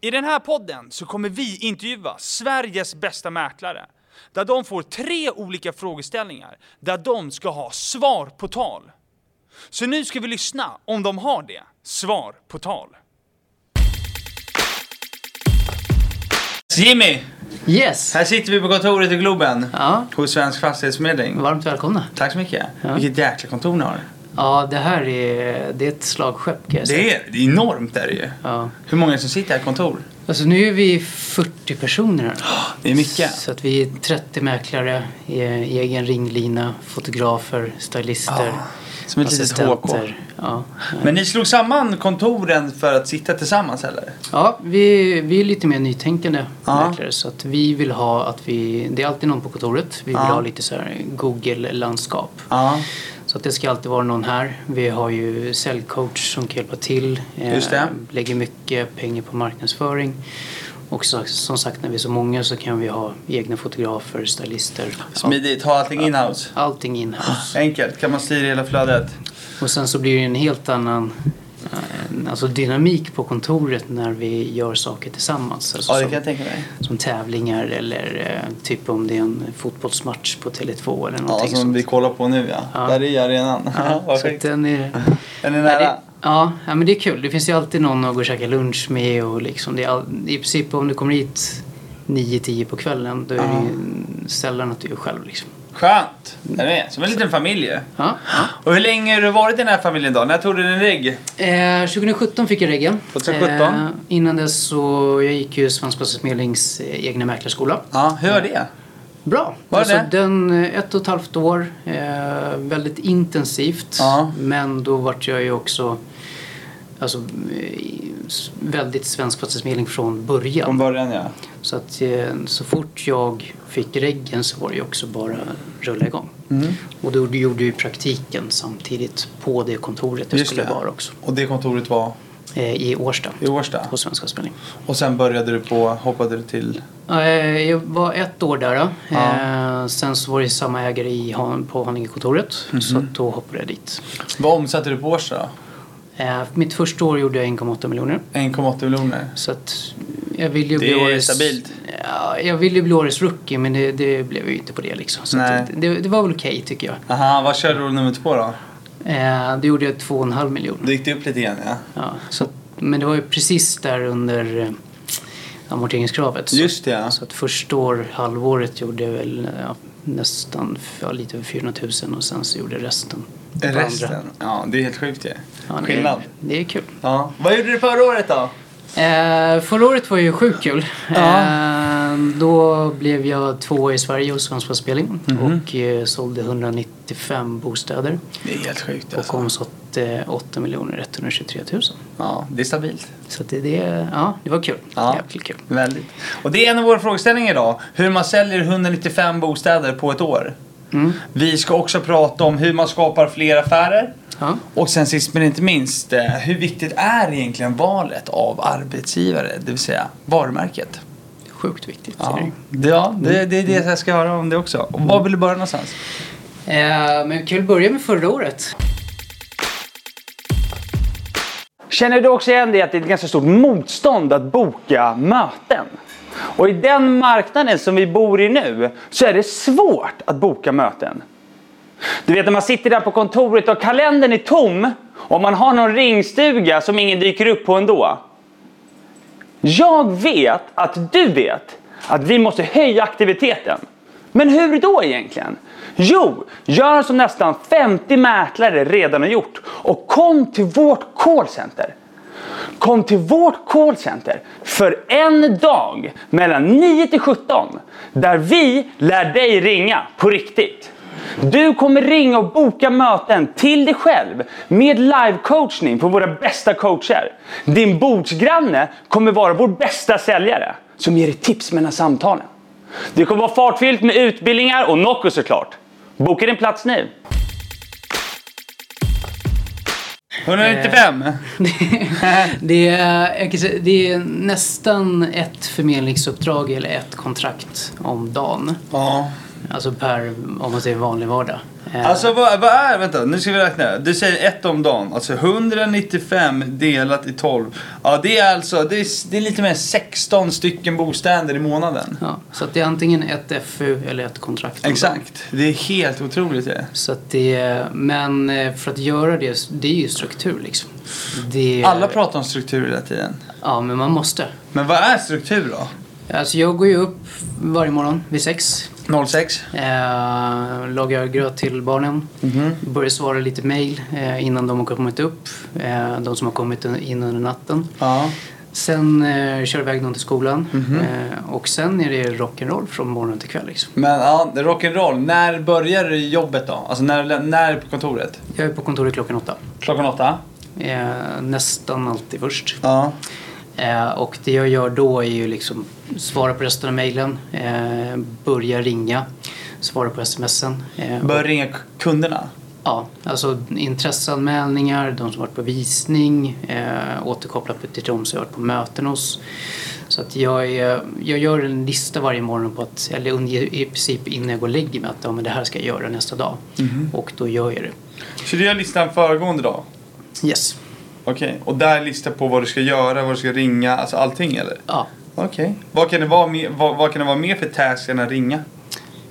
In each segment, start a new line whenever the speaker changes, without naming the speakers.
I den här podden så kommer vi intervjua Sveriges bästa mäklare. Där de får tre olika frågeställningar där de ska ha svar på tal. Så nu ska vi lyssna om de har det. Svar på tal. Jimmy!
Yes!
Här sitter vi på kontoret i Globen.
Ja,
Hos Svensk Fastighetsförmedling.
varmt välkomna.
Tack så mycket.
Ja.
Vilket jäkla kontor ni har.
Ja, det här är, det är ett slagskepp kan jag säga.
Det är, det är enormt är det ju.
Ja.
Hur många är det som sitter här i kontor?
Alltså nu är vi 40 personer här.
Det är mycket.
Så att vi är 30 mäklare, e- egen ringlina, fotografer, stylister,
Ja, som ett litet HK.
assistenter. Ja.
Men ni slog samman kontoren för att sitta tillsammans eller?
Ja, vi, vi är lite mer nytänkande
Ja.
mäklare. Så att vi vill ha att vi, det är alltid någon på kontoret. Vi vill
Ja.
ha lite så här Google-landskap.
Ja.
Så att det ska alltid vara någon här. Vi har ju säljcoach som kan hjälpa till. eh,
Just det.
Lägger mycket pengar på marknadsföring. Och så, som sagt, när vi är så många så kan vi ha egna fotografer, stylister. All,
Smidigt, ha allting inhouse.
allting inhouse.
Enkelt, kan man styra hela flödet.
Och sen så blir det en helt annan eh, alltså dynamik på kontoret när vi gör saker tillsammans. Alltså
Ja, det
som-
kan jag tänka mig.
som tävlingar eller eh, typ om det är en fotbollsmatch på Tele2 eller
Ja,
någonting
som
sånt.
vi kollar på nu ja.
Ja.
Där är arenan.
Ja, så att
Perfekt.
den är...
Är ni
Ja,
nära?
det, ja, ja, men det är kul. Det finns ju alltid någon att gå och käka lunch med och liksom, det är all, i princip om du kommer hit 9-10 på kvällen då är det ju sällan att du är själv liksom.
Skönt! Är det? Som en liten familj ju.
Ja, ja.
Och hur länge har du varit i den här familjen då? När tog du din rigg?
Eh, 2017 fick jag reggen.
2017?
Eh, innan dess så jag gick ju Svensk Fastighetsförmedlings eh, egna mäklarskola.
Ja, hur var det?
Bra.
Var det det?
den, eh, ett och ett halvt år, eh, väldigt intensivt.
Ja.
Men då vart jag ju också alltså, eh, s- väldigt svensk fastighetsförmedling från
Från
början.
början ja.
Så att eh, så fort jag fick reggen så var det ju också bara rulla igång.
Mm.
Och då gjorde jag ju praktiken samtidigt på det kontoret jag
Just
skulle
det.
vara också.
Och det kontoret var
Eh, I Årsta.
i Årsta?
På Svensk Fastighetsförmedling.
Och sen började du på, hoppade du till...
Eh, Jag var ett år där. Då. Eh, Sen så var det samma ägare i Han- på Haningekontoret.
Mhm.
Så att då hoppade jag dit.
Vad omsatte du på Årsta?
Eh, Mitt första år gjorde jag 1,8 miljoner.
1,8 miljoner.
Så att jag ville
Det
ju bli
är
årets...
stabilt.
Ja, jag ville ju bli årets rookie men det, det blev ju inte på det liksom. Så
Nej.
att det, det var väl okej tycker jag.
Aha, vad körde du nummer två då?
Eh, Då gjorde jag 2,5 miljoner.
Då gick det upp lite igen ja.
Ja, så, att- men det var ju precis där under eh, amorteringskravet. Så
Just det ja.
Så att första år, halvåret gjorde jag väl eh, ja, nästan ja, lite över 400 000 och sen så gjorde jag resten. på andra.
Resten? Ja, det är helt sjukt ju.
Ja, det,
Skillnad.
Det är kul.
Ja. Vad gjorde du förra året då?
Eh, förra året var ju sjukt kul.
Ja.
Eh, då blev jag tvåa i Sverige hos Svensk Spelning
Mhm.
och eh, sålde 195 bostäder
Det är helt sjukt
och
alltså.
omsatte eh, 8 123 000.
Ja, det är stabilt.
Så att det, det, ja, det var kul.
Ja.
Jäkligt kul.
Väldigt. Och det är en av våra frågeställningar idag. Hur man säljer 195 bostäder på ett år.
Mm.
Vi ska också prata om hur man skapar fler affärer.
Ja.
Och sen sist men inte minst, eh, hur viktigt är egentligen valet av arbetsgivare, det vill säga varumärket?
Sjukt viktigt. är
Ja,
det ju.
ja det, det är det jag ska höra om det också. Och var vill du börja någonstans?
Eh, men vi kan väl börja med förra året.
Känner du också igen det att det är ett ganska stort motstånd att boka möten? Och i den marknaden som vi bor i nu så är det svårt att boka möten. Du vet när man sitter där på kontoret och kalendern är tom och man har någon ringstuga som ingen dyker upp på ändå. Jag vet att du vet att vi måste höja aktiviteten. Men hur då egentligen? Jo, gör som nästan 50 mäklare redan har gjort och kom till vårt callcenter. Kom till vårt callcenter för en dag mellan 9 till 17 där vi lär dig ringa på riktigt. Du kommer ringa och boka möten till dig själv med live-coachning på våra bästa coacher. Din bordsgranne kommer vara vår bästa säljare som ger dig tips mellan samtalen. Det kommer vara fartfyllt med utbildningar och Nocco såklart. Boka din plats nu! 195!
Det är, jag kan säga, det är nästan ett förmedlingsuppdrag eller ett kontrakt om dagen.
Ja,
Alltså per, om man säger vanlig vardag. Eh,
Alltså vad, vad är, vänta nu ska vi räkna. Du säger ett om dagen, alltså 195 delat i 12. Ja det är alltså, det är, det är lite mer än 16 stycken bostäder i månaden.
ja, så att det är antingen ett FU eller ett kontrakt. om dagen.
Exakt, det är helt otroligt det.
Så att det, men eh, för att göra det, det är ju struktur liksom. Det,
Alla pratar om struktur hela tiden.
Ja, men man måste.
Men vad är struktur då?
Alltså jag går ju upp varje morgon vid sex.
06?
Eh, lagar gröt till barnen. Börjar svara lite mail eh, innan de har kommit upp. Eh, de som har kommit un- in under natten.
Ja.
Sen eh, kör iväg dem till skolan. Eh, och sen är det rock'n'roll från morgon till kväll. Liksom.
Men ja, rock'n'roll. När börjar jobbet då? Alltså när, när på kontoret?
Jag är på kontoret klockan åtta.
Klockan åtta?
Eh, nästan alltid först.
Ja.
Eh, och det jag gör då är ju liksom svara på resten av mailen, eh, börja ringa, svara på smsen. Eh,
Börjar ringa k- kunderna?
Ja, alltså intresseanmälningar, de som varit på visning, eh, återkoppla på- till de som jag varit på möten hos. Så att jag, är, jag gör en lista varje morgon på att, eller under- i princip innan jag går och lägger mig, att ja, men det här ska jag göra nästa dag. Och då gör jag det.
Så du gör listan föregående dag?
Yes.
Okej, och där lista på vad du ska göra, vad du ska ringa, alltså allting eller?
Ja.
Okej. Vad kan det vara med, vad, vad kan det vara mer för task än att ringa?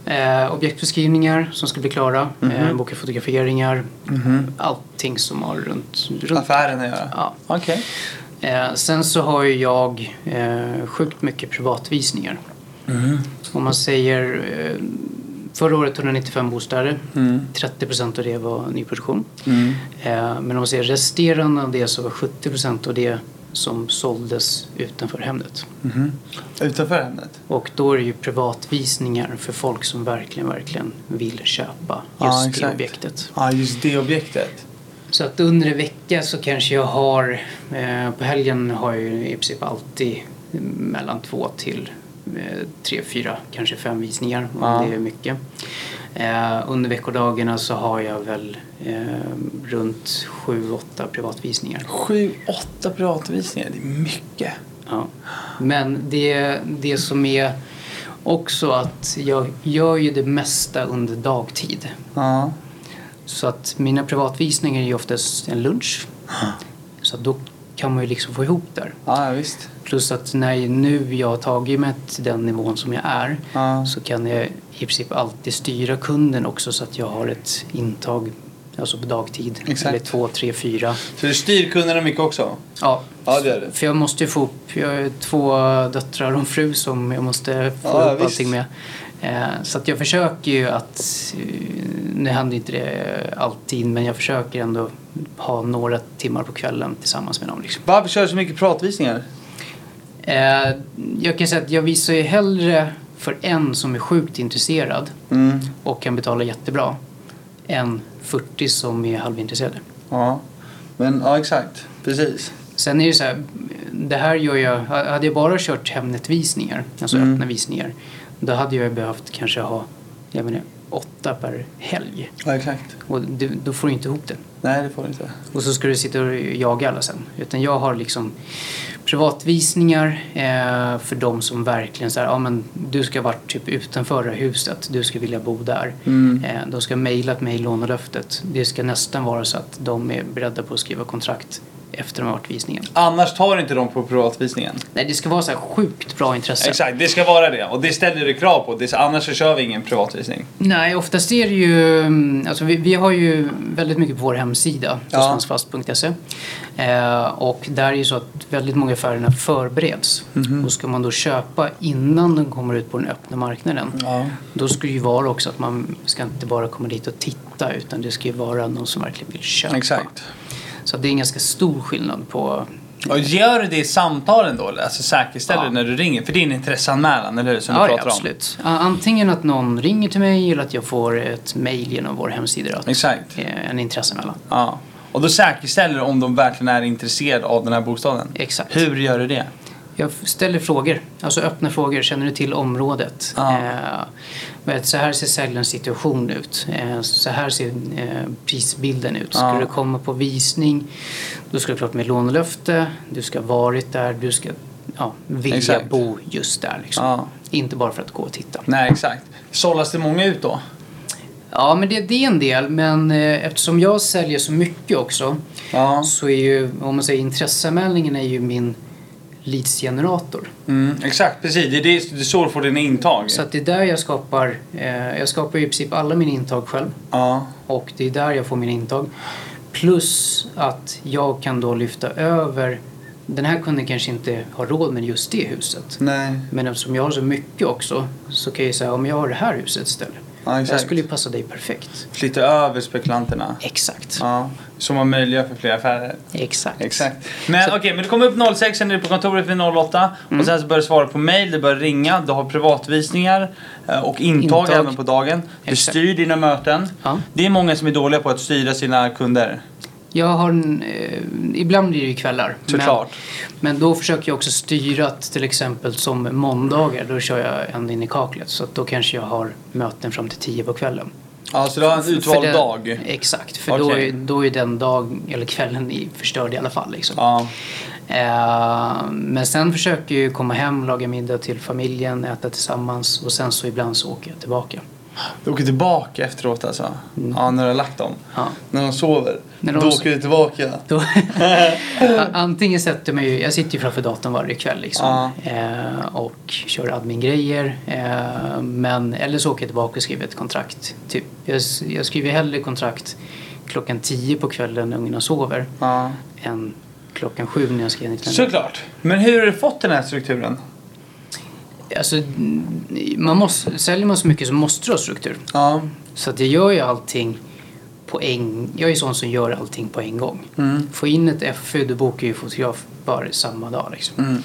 Eh, objektbeskrivningar som ska bli klara, eh, boka fotograferingar, allting som har runt... runt
Affären att göra?
ja.
Okej.
Eh, sen så har ju jag eh, sjukt mycket privatvisningar.
Mm.
Om man säger eh, förra året 195 bostäder,
Mm.
30% av det var nyproduktion. Eh, men om man säger resterande av det så var 70% av det som såldes utanför hemmet.
Utanför ämnet?
Och då är det ju privatvisningar för folk som verkligen, verkligen vill köpa
Ja,
just det
exakt.
objektet.
Ja, just det objektet.
Så att under en vecka så kanske jag har, eh, på helgen har jag ju i princip alltid mellan två till eh, tre, fyra, kanske fem visningar om
Ja.
det är mycket. Eh, under veckodagarna så har jag väl eh, runt sju, åtta privatvisningar.
Sju, åtta privatvisningar, det är mycket.
Ja. Men det, det som är också att jag gör ju det mesta under dagtid.
Ja.
Så att mina privatvisningar är ju oftast en lunch. Så att då kan man ju liksom få ihop där.
Ja, visst.
Plus att när nu jag har tagit mig till den nivån som jag är
Ja.
så kan jag i princip alltid styra kunden också så att jag har ett intag alltså på dagtid.
Exakt.
Eller två, tre, fyra.
Så du styr kunderna mycket också?
Ja.
Ja, det gör du.
För jag måste ju få upp, jag har två döttrar och en fru som jag måste få
Ja,
upp
visst.
allting med. Eh, Så att jag försöker ju att, eh, nu händer inte det alltid, men jag försöker ändå ha några timmar på kvällen tillsammans med dem. Liksom.
Varför kör du så mycket privatvisningar?
Eh, Jag kan säga att jag visar ju hellre för en som är sjukt intresserad
Mm.
och kan betala jättebra än 40 som är halvintresserade.
Ja. Men, ja exakt. Precis.
Sen är det så här, det här gör jag, hade jag bara kört Hemnetvisningar, alltså öppna visningar, då hade jag behövt kanske ha, jag menar, åtta per helg.
Ja, exakt.
Och du, då får du inte ihop det.
Nej, det får du inte.
Och så ska du sitta och jaga alla sen. Utan jag har liksom privatvisningar eh, för de som verkligen så här, ja men du ska vara typ utanför det här huset, du ska vilja bo där. Eh, de ska mejla till mig lånelöftet. Det ska nästan vara så att de är beredda på att skriva kontrakt efter de har varit visningen.
Annars tar inte de på privatvisningen.
Nej, det ska vara så här sjukt bra intresse.
Exakt, det ska vara det. Och det ställer du krav på. Det, är- annars så kör vi ingen privatvisning.
Nej, oftast är det ju... mm, Alltså vi, vi har ju väldigt mycket på vår hemsida,
Ja.
svenskfast.se. Eh, och där är ju så att väldigt många affärerna förbereds.
Mhm.
Och ska man då köpa innan de kommer ut på den öppna marknaden,
Ja.
då ska det ju vara också att man ska inte bara komma dit och titta, utan det ska ju vara någon som verkligen vill köpa.
Exakt.
Så det är en ganska stor skillnad på...
Och gör du det i samtalen då? eller? Alltså säkerställer
Ja.
du när du ringer? För det är en intresseanmälan, eller hur? Som
Ja,
du
ja,
pratar om.
absolut. A- Antingen att någon ringer till mig eller att jag får ett mejl genom vår hemsida. då, Att,
Exakt.
eh, en intresseanmälan.
Ja. Och då säkerställer du om de verkligen är intresserade av den här bostaden?
Exakt.
Hur gör du det?
Jag ställer frågor, alltså öppna frågor. Känner du till området?
Ja.
Eh, vet, så här ser säljarens situation ut. Eh, så här ser eh, prisbilden ut. Ska
Ja.
du komma på visning, då ska du klart med lånelöfte. Du ska ha varit där, du ska ja, vilja
Exakt.
bo just där. Liksom.
Ja.
Inte bara för att gå och titta.
Nej, exakt. Sållas det många ut då?
Ja, men det, det är en del. Men eh, eftersom jag säljer så mycket också
Ja.
så är ju, om man säger intresseanmälningen är ju min leadsgenerator.
Mm, exakt, precis. Det är, det, det är så du får din intag.
Så att det är där jag skapar, eh, jag skapar ju i princip alla mina intag själv
Ja.
och det är där jag får mina intag. Plus att jag kan då lyfta över, den här kunden kanske inte har råd med just det huset.
Nej.
Men eftersom jag har så mycket också så kan jag ju säga om jag har det här huset istället.
Ja,
Det här
exakt.
skulle ju passa dig perfekt.
Flytta över spekulanterna.
Exakt.
Ja. Som man möjliggör för fler affärer.
Exakt.
Exakt. Men okej, men du kom upp 06, sen är du på kontoret vid 08. Och sen så börjar du svara på mail, du börjar ringa, du har privatvisningar eh, och intag,
Intag.
även på dagen. Du
Exakt.
styr dina möten.
Ja.
Det är många som är dåliga på att styra sina kunder.
Jag har en, eh, ibland blir det ju kvällar.
Såklart.
Men, men då försöker jag också styra att till exempel som måndagar då kör jag ända in i kaklet. Så att då kanske jag har möten fram till tio på kvällen.
Ja, så du har en utvald
För det-
dag.
Exakt, för då,
Okej.
är, då är den dag eller kvällen i- förstörd i alla fall. Liksom.
Ja.
Eh, men sen försöker jag ju komma hem, laga middag till familjen, äta tillsammans och sen så ibland så åker jag tillbaka.
Du åker tillbaka efteråt alltså? Ja, när du har lagt dem?
Ja.
När de sover?
När de
Då
so-
åker du tillbaka?
Då, antingen sätter jag mig ju, jag sitter ju framför datorn varje kväll liksom, eh, och kör admin-grejer. Eh, men, eller så åker jag tillbaka och skriver ett kontrakt. Typ. Jag, s- jag skriver hellre kontrakt klockan 10 på kvällen när ungarna sover
Ja.
än klockan 7 när jag ska enligt den.
Såklart. Men hur har du fått den här strukturen?
Alltså, mm, man måste, säljer man så mycket så måste du ha struktur.
Ja.
Så att jag gör ju allting på en Jag är sån som gör allting på en gång.
Mm.
Få in ett FU, då bokar ju fotograf bara samma dag. Liksom.
Mm.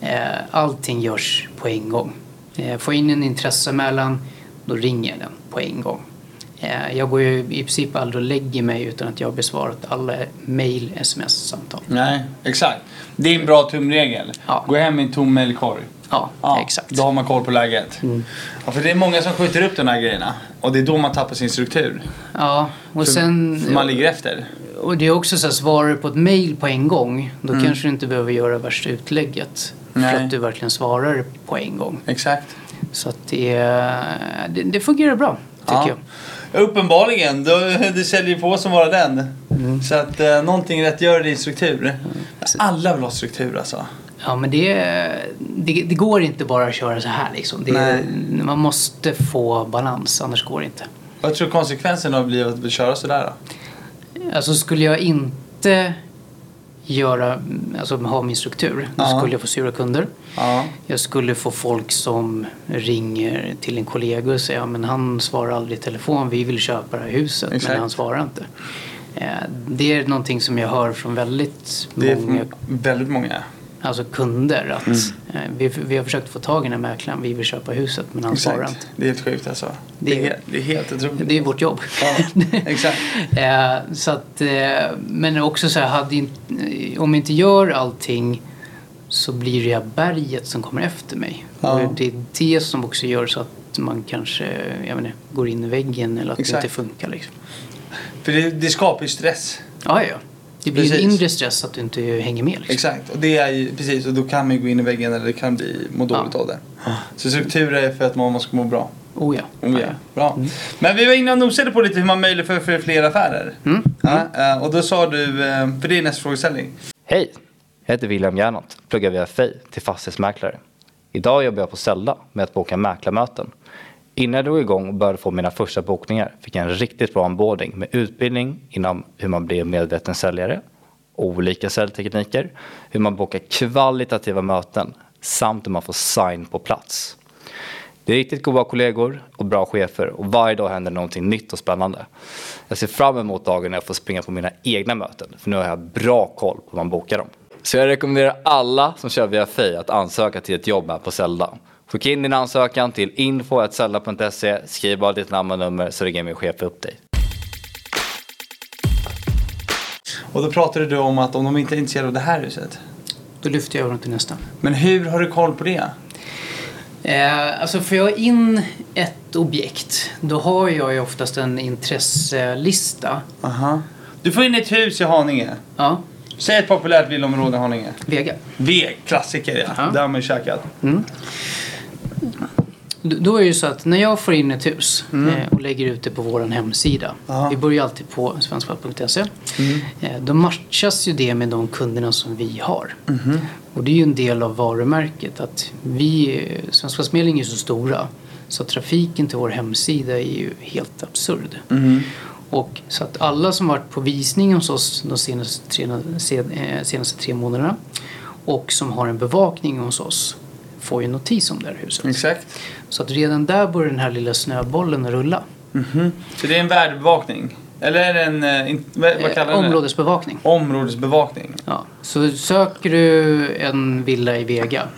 Eh, Allting görs på en gång. Eh, Få in en intresseanmälan, då ringer jag den på en gång. Eh, Jag går ju i princip aldrig och lägger mig utan att jag har besvarat alla mejl, sms, samtal.
Nej, exakt. Det är en bra tumregel.
Ja.
Gå hem med en tom mejlkorg.
Ja, exakt.
Då har man koll på läget. Ja, för det är många som skjuter upp de här grejerna. Och det är då man tappar sin struktur.
Ja, och sen...
För man ligger efter.
Och det är också så att svarar du på ett mail på en gång, då kanske du inte behöver göra värsta utlägget. För
Mm. Nej.
att du verkligen svarar på en gång.
Exakt.
Så att det, det, det fungerar bra, tycker
Ja.
jag.
Uppenbarligen. Du, du säljer på som bara den. Så att eh, någonting rätt gör din struktur.
Mm.
Alla vill ha struktur alltså.
Ja, men det, det, det går inte bara att köra så här liksom. Det,
Nej.
man måste få balans, annars går det inte.
Vad tror du konsekvensen av blir att köra sådär då?
Alltså skulle jag inte göra, alltså ha min struktur, då
Ja.
skulle jag få sura kunder.
Ja.
Jag skulle få folk som ringer till en kollega och säger "Ja, men han svarar aldrig i telefon, vi vill köpa det här huset
Exakt.
men han svarar inte. Eh, Det är någonting som jag hör från väldigt
Det är Mm.
många
väldigt många.
alltså kunder att eh, vi, vi har försökt få tag i den här mäklaren, vi vill köpa huset men han svarar inte.
Det är helt sjukt alltså.
Det är-
Det är, det är helt otroligt.
Det är vårt jobb.
Ja, exakt.
Eh, så att, eh, men också så här, hade inte, eh, om jag inte gör allting så blir det här berget som kommer efter mig.
Ja.
Och det är det som också gör så att man kanske jag menar, går in i väggen eller att
Exakt.
det inte funkar. Liksom.
För det, det skapar ju stress.
Ja, ja, ja. Det blir en
Precis.
inre stress att du inte hänger med. Liksom.
Exakt. Och det är ju, precis. Och då kan man ju gå in i väggen eller det kan bli må dåligt
Ja.
av det. Så struktur är för att man måste må bra.
Oh, ja.
Oh, ja.
ja.
Bra. Men vi var inne och nosade på lite hur man möjliggör för fler affärer. Ja, eh, och då sa du, eh, för det är nästa frågeställning.
Hej! Jag heter William Gernandt, pluggar via FEI till fastighetsmäklare. Idag jobbar jag på Sella med att boka mäklarmöten. Innan jag drog igång och började få mina första bokningar fick jag en riktigt bra onboarding med utbildning inom hur man blir en medveten säljare, olika säljtekniker, hur man bokar kvalitativa möten samt hur man får sign på plats. Det är riktigt goda kollegor och bra chefer och varje dag händer någonting nytt och spännande. Jag ser fram emot dagen när jag får springa på mina egna möten för nu har jag bra koll på hur man bokar dem. Så jag rekommenderar alla som kör via Fej att ansöka till ett jobb här på Zelda. Skicka in din ansökan till info.zelda.se, skriv bara ditt namn och nummer så ringer min chef upp dig.
Och då pratade du om att om de inte är intresserade av det här huset.
Då lyfter jag över dem till nästa.
Men hur har du koll på det?
Eh, alltså får jag in ett objekt, då har jag ju oftast en intresselista.
Aha. Du får in ett hus i Haninge.
Ja.
Säg ett populärt villaområde i Haninge.
Vega.
V, klassiker ja.
Ja.
Det har man ju käkat.
D- Då är det ju så att när jag får in ett hus eh, och lägger ut det på vår hemsida.
Mm. Ja. Mm.
Vi börjar alltid på svenskfall.se. Eh, då matchas ju det med de kunderna som vi har.
Mm-hmm.
Och det är ju en del av varumärket att vi, eh, Svenskfallsmedling är ju så stora så att trafiken till vår hemsida är ju helt absurd.
Mm-hmm.
Och så att alla som varit på visning hos oss de senaste tre, sen- eh, senaste tre månaderna och som har en bevakning hos oss får ju notis om det här huset.
Exakt.
Så att redan där börjar den här lilla snöbollen att rulla.
Så det är en värdbevakning? Eller är det en... eh, in- vad vad kallar
Eh,
ni det?
områdesbevakning.
Områdesbevakning.
Ja. Så söker du en villa i Vega,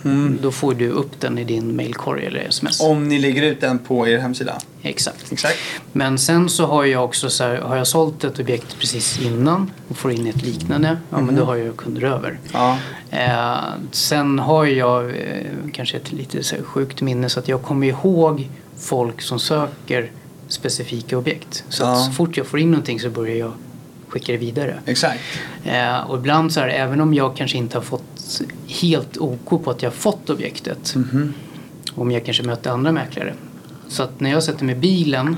då får du upp den i din mailkorg eller sms.
Mm. Om ni lägger ut den på er hemsida.
Exakt.
Exakt.
Men sen så har jag också så här, har jag sålt ett objekt precis innan och får in ett liknande, ja men då har jag kunder över.
Mhm. Ja.
Eh, sen har jag eh, kanske ett lite så här, sjukt minne så att jag kommer ihåg folk som söker specifika objekt. Så,
Ja.
att så fort jag får in någonting så börjar jag skicka det vidare.
Exakt.
Eh, och ibland så här, även om jag kanske inte har fått helt OK på att jag har fått objektet.
Mhm.
Om jag kanske möter andra mäklare. Så att när jag sätter mig i bilen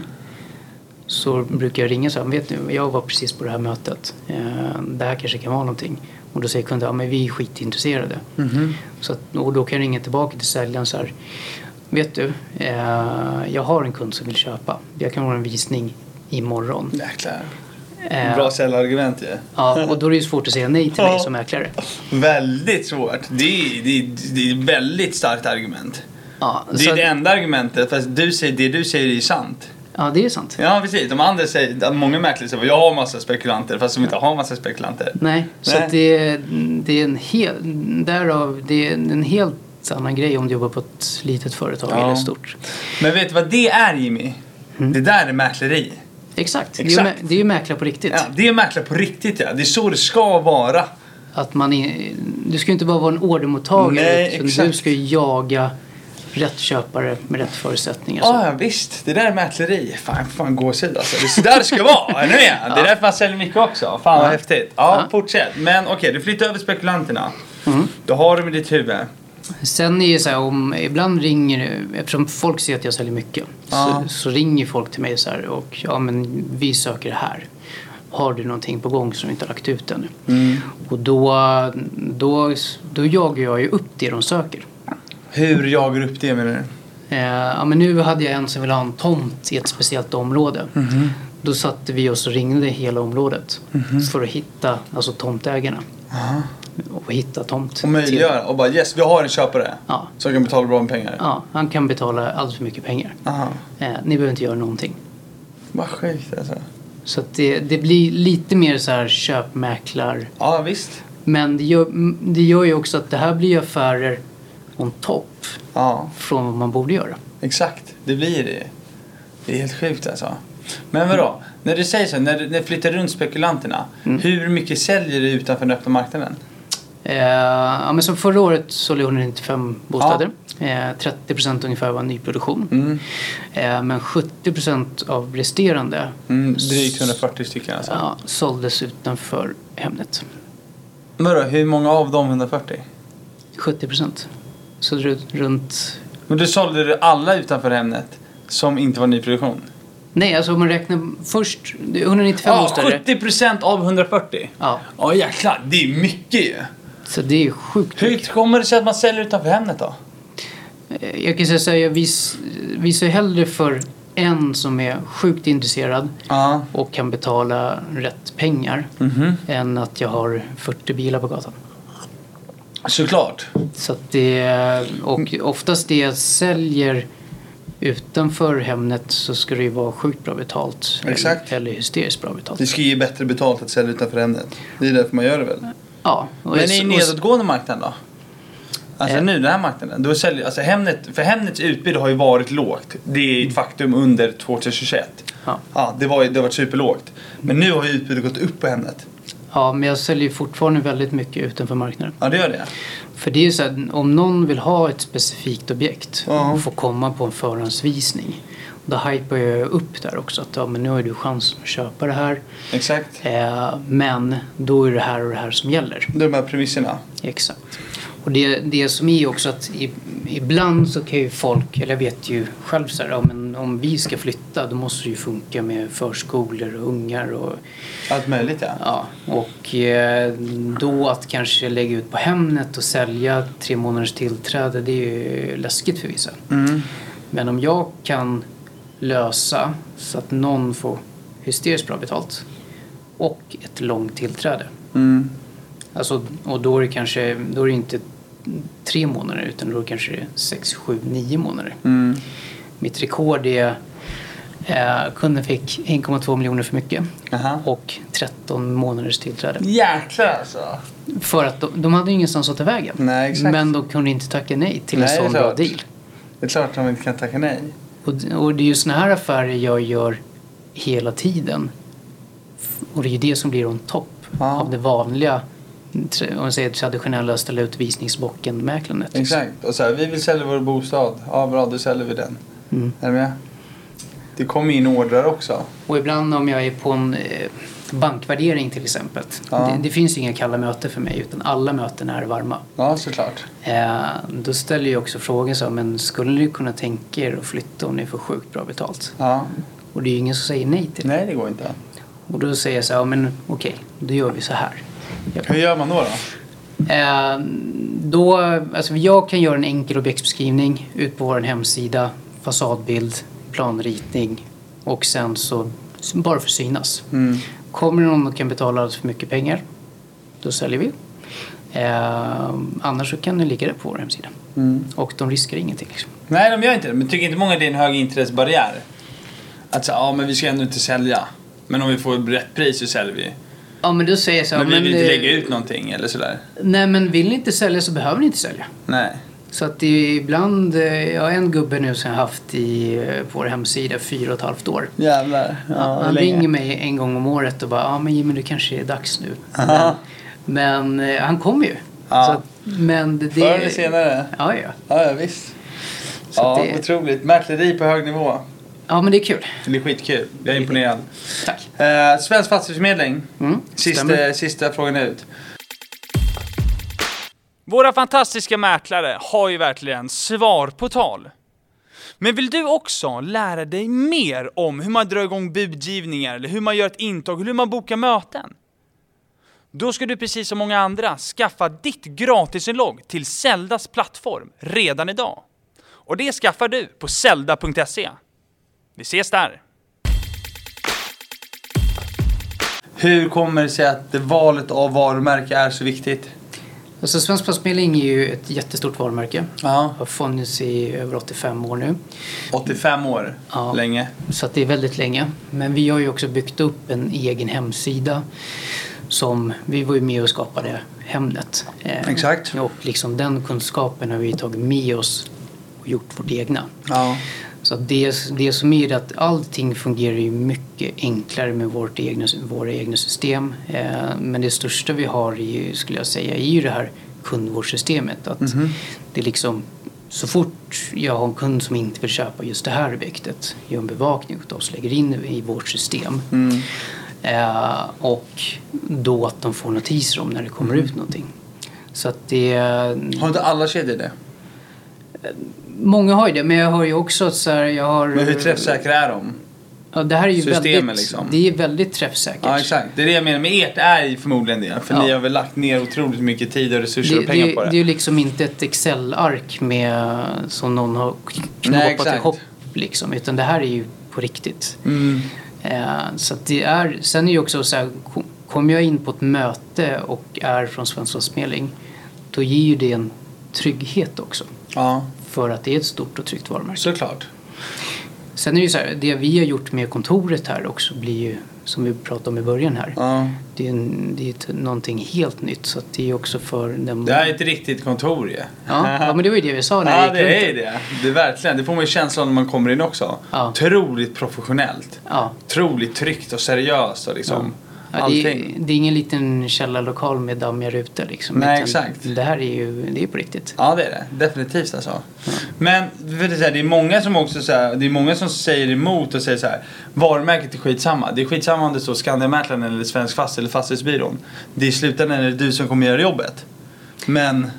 så brukar jag ringa så här, vet ni, jag var precis på det här mötet. Eh, det här kanske kan vara någonting. Och då säger kunden, ja men vi är skitintresserade.
Mhm.
Så att, och då kan jag ringa tillbaka till säljaren så här, vet du, eh, jag har en kund som vill köpa. Jag kan ha en visning imorgon.
Jäklar.
Eh,
Bra säljargument ju.
Ja, och då är det ju svårt att säga nej till
Ja.
mig som mäklare.
Väldigt svårt. Det är, det, är, det är ett väldigt starkt argument.
Ja,
Det är
så,
det enda argumentet, fast du säger, det du säger är ju sant.
ja, det är sant.
Ja, precis. De andra säger, att många mäklare säger jag har massa spekulanter, fast de inte har massa spekulanter.
Nej, så
Nej.
att det, det är en hel, därav, det är en helt annan grej om du jobbar på ett litet företag
Ja.
eller ett stort.
Men vet du vad det är Jimmy?
Mm.
Det där är mäkleri.
Exakt, Det, är ju,
Exakt.
mä- det är ju mäklare på riktigt.
Ja, det är mäklare på riktigt ja. Det är så det ska vara.
Att man är, du ska ju inte bara vara en ordermottagare
Nej,
utan
exakt.
du ska ju jaga rätt köpare med rätt förutsättningar. Så-
Ja, ja, visst. Det där är mäkleri. Fan, fan gåshud alltså. Det är så där det ska vara. Är ni med? Det är därför man säljer mycket också. Fan vad häftigt. Ja,
Ja. Mm.
fortsätt. Men okej, du flyttar över spekulanterna. Då har du med ditt huvud.
Sen är det så här, om, ibland ringer, eftersom folk ser att jag säljer mycket,
Ja.
så, så ringer folk till mig så här och ja men vi söker det här. Har du någonting på gång som du inte har lagt ut ännu?
Mm.
Och då, då, då jagar jag ju upp det de söker.
Hur jagar du upp det menar du?
Eh, ja, men nu hade jag en som ville ha en tomt i ett speciellt område.
Mm-hmm.
Då satte vi oss och ringde hela området för att hitta alltså, tomtägarna. Och hitta tomt.
Och
till-
möjliggöra och bara yes, vi har en köpare.
Ja.
Som kan betala bra med pengar.
Ja, han kan betala allt för mycket pengar.
Aha.
Eh, ni behöver inte göra någonting.
Vad sjukt alltså.
Så att det, det blir lite mer så här köpmäklar.
Ja, visst.
Men det gör, m- det gör ju också att det här blir ju affärer on top
Ja,
från vad man borde göra.
exakt. Det blir det ju. Det är helt sjukt alltså. Men vadå?
Mm.
När du säger så, när du när du flyttar runt spekulanterna. Hur mycket säljer du utanför den öppna marknaden?
Eh, ja, men som förra året sålde jag 195 bostäder. Eh, 30 ungefär var nyproduktion.
Mm.
Eh, men 70 av resterande
Mm, drygt 140 stycken alltså.
ja, såldes utanför Hemnet.
Men Vadå, hur många av de 140?
70 Så ru- runt...
Men du sålde du alla utanför Hemnet som inte var nyproduktion?
Nej, alltså om man räknar först... det är 195 bostäder.
70% av 140?
Ja,
Ja jäklar, det är mycket ju.
så det är sjukt.
Hur kommer det sig att man säljer utanför Hemnet då?
Eh, Jag kan säga så här, jag vis, visar hellre för en som är sjukt intresserad
Ja.
och kan betala rätt pengar
Mhm.
än att jag har 40 bilar på gatan.
Såklart.
Så att det, och
Mm.
oftast det jag säljer utanför Hemnet så ska det ju vara sjukt bra betalt eller-
Exakt.
eller hysteriskt bra betalt.
Det ska ge bättre betalt att sälja utanför Hemnet. Det är därför man gör det väl?
Ja, Mm. och
Men i
och-
nedåtgående marknaden då? Alltså
Eh.
nu den här marknaden. Då säljer, alltså Hemnet, för Hemnets utbud har ju varit lågt. Det är ett faktum under 2021.
Ja.
Ja, det, var, ju- det har varit superlågt. Men nu har ju utbudet gått upp på Hemnet.
ja, men jag säljer ju fortfarande väldigt mycket utanför marknaden.
Ja, det gör det.
För det är ju så här, om någon vill ha ett specifikt objekt
Ja.
och får komma på en förhandsvisning Då hypar jag upp där också att ja, men nu har du chans att köpa det här.
Exakt.
Eh, men då är det här och det här som gäller.
De här premisserna.
Exakt. Och det, det som är också att i, ibland så kan ju folk, eller jag vet ju själv så här, ja, men om vi ska flytta då måste det ju funka med förskolor och ungar och
Allt möjligt ja.
Ja, och eh, då att kanske lägga ut på Hemnet och sälja tre månaders tillträde, det är ju läskigt för vissa. Men om jag kan lösa så att någon får hysteriskt bra betalt och ett långt tillträde.
Mm.
Alltså, och då är det kanske då är det inte tre månader utan då kanske det är sex, sju, nio månader.
Mm.
Mitt rekord är eh, kunden fick 1,2 miljoner för mycket
Aha.
och 13 månaders tillträde.
Jäklar alltså.
För att de, de hade ju ingenstans att ta vägen.
Nej, exakt.
Men de kunde inte tacka nej till
Nej, det
en
är
sån bra
klart.
deal.
Det är klart att de inte kan tacka nej.
Och, och det är ju såna här affärer jag gör hela tiden. Och det är ju det som blir on topp
Ja.
av det vanliga, tra- om man säger traditionella ställa ut visningsbocken-mäklandet. liksom.
Exakt. Och så här, vi vill sälja vår bostad. Ja, bra, då säljer vi den.
Mm.
Är du med? Det kommer in ordrar också.
Och ibland om jag är på en eh, bankvärdering till exempel.
Ja.
Det, det finns ju inga kalla möten för mig utan alla möten är varma.
Ja, såklart.
Eh, då ställer jag också frågan så här, men skulle ni kunna tänka er att flytta om ni får sjukt bra betalt?
Ja.
Och det är ju ingen som säger nej till det.
Nej, det går inte.
Och då säger jag så här, ja, men okej, då gör vi så här.
Hur gör man då? då?
Eh, då, alltså jag kan göra en enkel objektsbeskrivning ut på vår hemsida, fasadbild, planritning och sen så bara för att synas.
Mm.
Kommer det någon och kan betala alldeles för mycket pengar, då säljer vi. Eh, annars så kan det ligga det på vår hemsida. Och de riskar ingenting. Liksom.
Nej, de gör inte det. Men tycker inte många det är en hög intressebarriär? Att säga, ja men vi ska ändå inte sälja. Men om vi får rätt pris så säljer vi.
Ja men då säger jag så här,
men vi vill
eh,
inte lägga ut någonting eller sådär.
Nej men vill ni inte sälja så behöver ni inte sälja.
Nej.
Så att det är ibland, eh, jag har en gubbe nu som jag haft i, eh, på vår hemsida fyra och ett halvt år.
Jävlar.
han han ringer mig en gång om året och bara ja men Jimmy det kanske är dags nu.
Aha.
Men, men eh, han kommer ju.
Ja.
Så att, men det, det,
Förr eller senare.
Ja, ja.
Ja, ja visst.
Så
ja,
det-
otroligt. Mäkleri på hög nivå.
ja men det är kul.
Det är skitkul. Jag är imponerad.
Tack.
Eh, Svensk fastighetsförmedling.
Mm,
Sista,
stämmer.
sista frågan ut. Våra fantastiska mäklare har ju verkligen svar på tal. Men vill du också lära dig mer om hur man drar igång budgivningar, eller hur man gör ett intag, hur man bokar möten? Då ska du precis som många andra skaffa ditt gratisinlogg till Zeldas plattform redan idag. Och det skaffar du på zelda.se. Vi ses där! Hur kommer det sig att valet av varumärke är så viktigt?
Alltså Svensk Plastmedling är ju ett jättestort varumärke.
Ja.
Har funnits i över 85 år nu.
85 år.
Ja.
Länge.
Så att det är väldigt länge. Men vi har ju också byggt upp en egen hemsida. Som, vi var ju med och skapade Hemnet. Eh,
Exakt.
Och liksom den kunskapen har vi tagit med oss och gjort vårt egna.
Ja.
Så att det, det som är det att allting fungerar ju mycket enklare med vårt egna, våra egna system. Eh, men det största vi har är ju, skulle jag säga är ju det här kundvårdssystemet. Att
Mm-hmm.
det är liksom, så fort jag har en kund som inte vill köpa just det här objektet gör en bevakning åt oss, lägger in i vårt system.
Mm.
Eh, och då att de får notiser om när det kommer
Mm.
ut någonting. Så att det,
Har inte alla kedjor det?
Många har ju det, men jag har ju också att så här, jag har...
Men hur träffsäkra är de?
Ja, det här är ju
systemen,
väldigt,
liksom?
Det är väldigt träffsäkert.
Ja, exakt. Det är det jag menar med ert är ju förmodligen det. För
Ja.
ni har väl lagt ner otroligt mycket tid och resurser
Det,
och pengar
det,
på det.
det är ju liksom inte ett Excel-ark med, som någon har
Nej,
knåpat
exakt.
ihop. Liksom, utan det här är ju på riktigt.
Mm.
Eh, så att det är, sen är ju också så här, kom- kommer jag in på ett möte och är från Svensk Lastmedling, då ger ju det en trygghet också.
Ja,
För att det är ett stort och tryggt varumärke.
såklart.
Sen är det ju så här, det vi har gjort med kontoret här också blir ju, som vi pratade om i början här,
Ja.
det är, en, det är ett, någonting helt nytt. Så att det är också för den...
Det här är ett riktigt kontor ju.
ja, ja, men det var ju det vi sa när
Ja,
vi gick
det är
runt.
ju det. Det är verkligen. Det får man ju känslan när man kommer in också.
Ja.
Otroligt professionellt.
Ja,
Otroligt tryggt och seriöst och liksom.
Ja, det, är,
Allting.
det är ingen liten källarlokal med dammiga rutor. Liksom,
Nej,
utan
exakt.
Det här är ju det är på riktigt.
Ja, det är det. Definitivt alltså. Men för det, är så här, det är många som också så här, det är många som säger emot och säger så här. Varumärket är skitsamma. Det är skitsamma om det står Skandiamäklaren eller Svensk Fast eller Fastighetsbyrån. Det är i slutändan är det du som kommer göra jobbet. Men,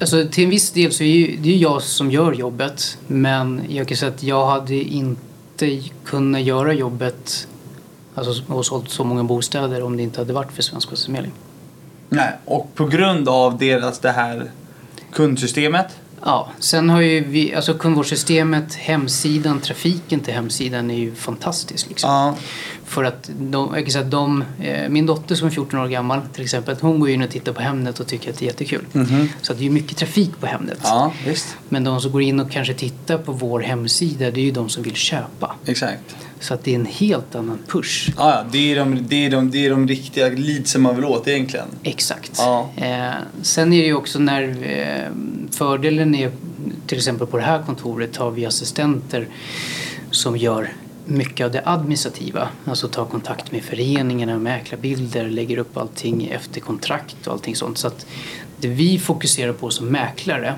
Alltså, till en viss del så är ju, det är ju jag som gör jobbet. Men jag kan säga att jag hade inte kunnat göra jobbet alltså, och sålt så många bostäder om det inte hade varit för Svensk Bostadsförmedling.
nej. Och på grund av deras det här kundsystemet.
Ja, sen har ju vi, alltså kundvårdssystemet, hemsidan, trafiken till hemsidan är ju fantastisk. Liksom.
Ja.
För att de, jag kan säga att de, eh, min dotter som är 14 år gammal till exempel, hon går in och tittar på Hemnet och tycker att det är jättekul. Så att det är ju mycket trafik på Hemnet.
Mhm. Ja, visst.
Men de som går in och kanske tittar på vår hemsida, det är ju de som vill köpa.
Exakt.
Så att det är en helt annan push.
Ja, ja, det är de, det är de, det är de riktiga leadsen man vill åt egentligen.
Exakt.
Ja.
Eh, sen är det ju också när eh, fördelen är, till exempel på det här kontoret har vi assistenter som gör mycket av det administrativa. Alltså tar kontakt med föreningarna, mäklarbilder, lägger upp allting efter kontrakt och allting sånt. Så att det vi fokuserar på som mäklare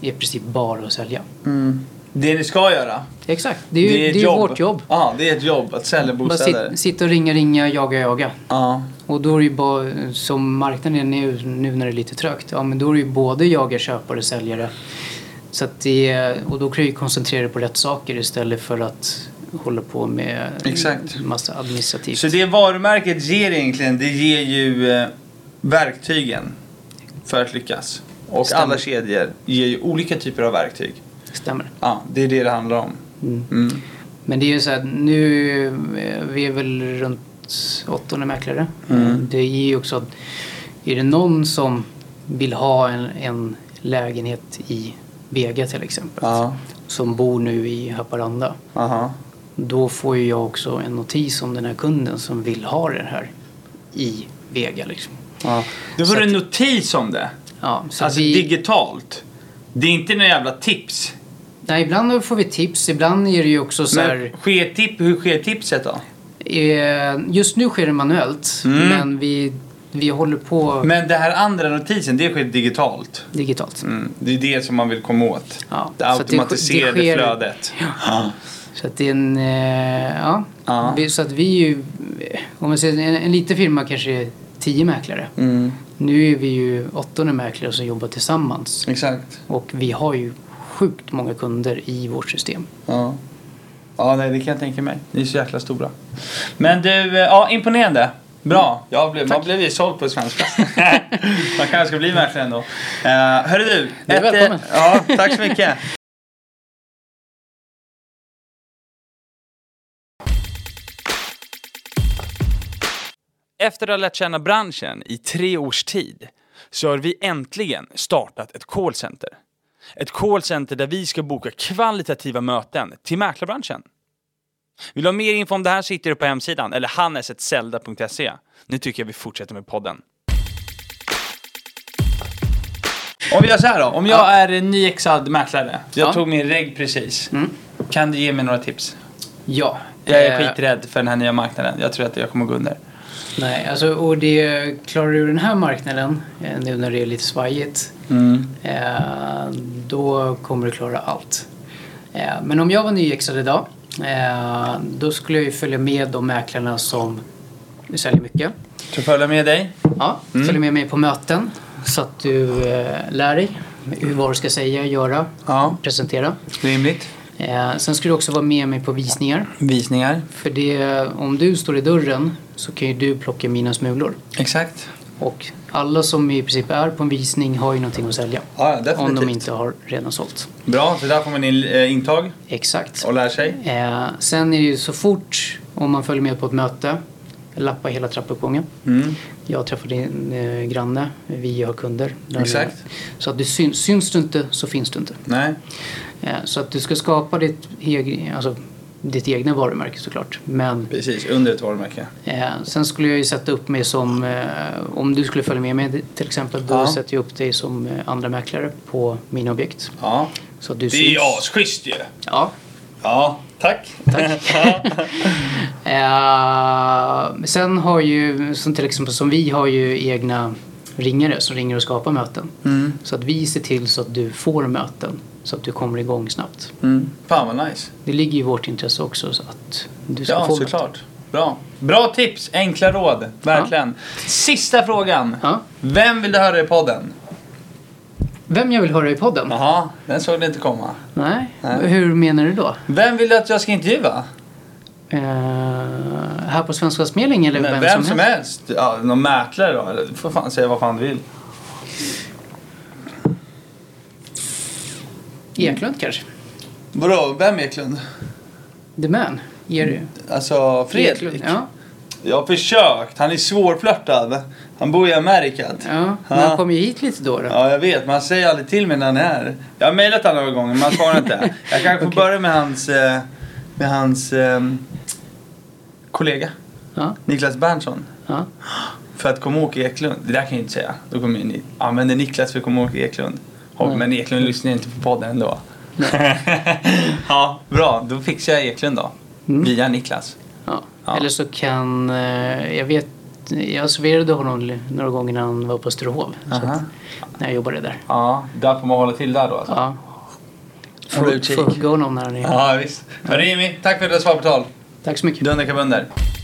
är i princip bara att sälja. Mm.
Det ni ska göra.
Exakt, det är ju det är
Mm. ett
ju vårt jobb.
Ja, det är ett jobb att sälja
Bara
bostäder.
sit, sitta och ringa, ringa, jaga, jaga.
Ja.
Och då är det ju bara, som marknaden är nu, nu när det är lite trögt, ja men då är det ju både jagare, köpare och säljare. Så att det, och då kan du ju koncentrera dig på rätt saker istället för att hålla på med
Exakt.
massa administrativt.
Så det varumärket ger egentligen, det ger ju eh, verktygen för att lyckas. Och
Stämmer.
alla kedjor ger ju olika typer av verktyg.
Stämmer.
Ja, det är det det handlar om. Mm.
Men det är ju så här, nu, eh, vi är väl runt 800 mäklare.
Mm.
Det är ju också att, är det någon som vill ha en, en lägenhet i Vega till exempel,
Ja.
som bor nu i Haparanda.
Aha.
Då får ju jag också en notis om den här kunden som vill ha den här i Vega. Liksom.
Ja. Du
Så
får
att-
en notis om det.
Ja, så
Alltså
vi,
digitalt. Det är inte några jävla tips.
nej, ibland får vi tips, ibland är det ju också så
Men
här...
sker tip, hur sker tipset då?
Eh, just nu sker det manuellt, men vi, vi håller på
Mm. Men det här andra notisen, det sker digitalt.
digitalt.
Mm. Det är det som man vill komma åt.
Ja,
Det
så att det sk- det
automatiserade
sker-
flödet. Ja.
Så att det är en... Eh, ja.
Ja.
Vi, så att vi är ju... eh, Om man säger en, en liten firma kanske är tio mäklare.
Mm.
Nu är vi ju 800 mäklare som jobbar tillsammans.
Mm. Exakt.
Och vi har ju sjukt många kunder i vårt system.
Ja. Ja, nej, det kan jag tänka mig. Ni är så jäkla stora. Men du, eh, ja, imponerande. Bra. Jag blev, man blev ju såld på svenska. man kanske ska bli mäklare ändå. Uh, hörru du.
Du är
eh,
välkommen.
Ja, tack så mycket.
Efter att ha lärt känna branschen i tre års tid så har vi äntligen startat ett callcenter. Ett callcenter där vi ska boka kvalitativa möten till mäklarbranschen. Vill du ha mer info om det här sitter du på hemsidan eller hannesetzelda.se. Nu tycker jag vi fortsätter med podden.
Om vi gör så här då. Om jag är en nyexad mäklare. Mm. Jag tog min reg precis. Kan du ge mig några tips?
Ja.
Jag är
eh,
skiträdd för den här nya marknaden. Jag tror att jag kommer gå under.
Nej, alltså, och det klarar du den här marknaden eh, nu när det är lite svajigt.
Mm.
Eh, då kommer du klara allt. Eh, men om jag var nyexad idag, eh, då skulle jag ju följa med de mäklarna som säljer mycket.
Så följa med dig.
Ja,
Mm.
Följ med mig på möten så att du eh, lär dig hur, vad du ska säga, göra,
Ja,
presentera.
rimligt.
Eh, sen ska du också vara med mig på visningar.
Visningar.
För det, om du står i dörren så kan ju du plocka mina smulor.
Exakt.
Och alla som i princip är på en visning har ju någonting att sälja.
Ja, definitivt.
Om de inte har redan sålt.
Bra, så där får man in eh, intag
Exakt.
och lär sig.
Eh, sen är det ju så fort, om man följer med på ett möte, lappa hela trappuppgången.
Mm,
Jag träffar din eh, granne, vi har kunder. Där
Exakt.
vi är. Så att du syns, syns du inte så finns du inte.
Nej.
Eh, så att du ska skapa ditt, eg, alltså, ditt egna varumärke såklart. Men
Precis, under ett varumärke.
Eh, sen skulle jag ju sätta upp mig som, eh, om du skulle följa med mig till exempel, då
Ja.
sätter jag upp dig som eh, andra mäklare på mina objekt.
Ja.
Så att du
Det är ju asschysst ju!
Ja,
Ja, tack.
Eh, sen har ju, som till exempel som vi har ju egna ringare som ringer och skapar möten.
Mm.
Så att vi ser till så att du får möten så att du kommer igång snabbt.
Mm. Fan vad nice.
Det ligger ju i vårt intresse också så att du ska
Ja,
få möten.
såklart. Bra. Bra tips, enkla råd. Verkligen. Sista frågan.
Ja.
Vem vill du höra i podden?
Vem jag vill höra i podden?
Jaha, den såg du inte komma.
Nej.
Nej.
Hur menar du då?
Vem vill du att jag ska intervjua?
Eh, här på Svenska Spelning eller
Men
vem,
vem
som
som
helst?
helst. Ja, någon mäklare då. eller? Du får fan säga vad fan du vill.
Eklund kanske?
Vadå, vem Eklund?
The Man? Jerry?
Alltså Fredrik?
Eklund, Ja.
Jag har försökt. Han är svårflörtad. Han bor i Amerika.
ja. Men han
Ja.
kom ju hit lite då. då.
Ja, jag vet. Men han säger aldrig till mig när han är här. Jag har mejlat honom några gånger, men han svarar inte. Jag kanske får börja med hans, eh, med hans ehm, kollega,
Ja,
Niklas Berntsson.
ja.
För att komma ihåg Eklund, det där kan jag ju inte säga. Då kommer ju ni använder Niklas för att komma ihåg Eklund. Och, Men Eklund lyssnar inte på podden ändå. ja, bra. Då fixar jag Eklund då. Via Niklas.
Ja.
Ja.
Eller så kan, eh, jag vet, jag serverade honom li- några gånger när han var på Österhov. så
Aha.
att- När jag jobbade där.
Ja, där får man hålla till där då alltså.
Ja.
Får du utkik.
Får hugga honom när han är
Ja, visst. Rimi, tack för att du har svarat på tal.
Tack så mycket.
Dunder kabunder.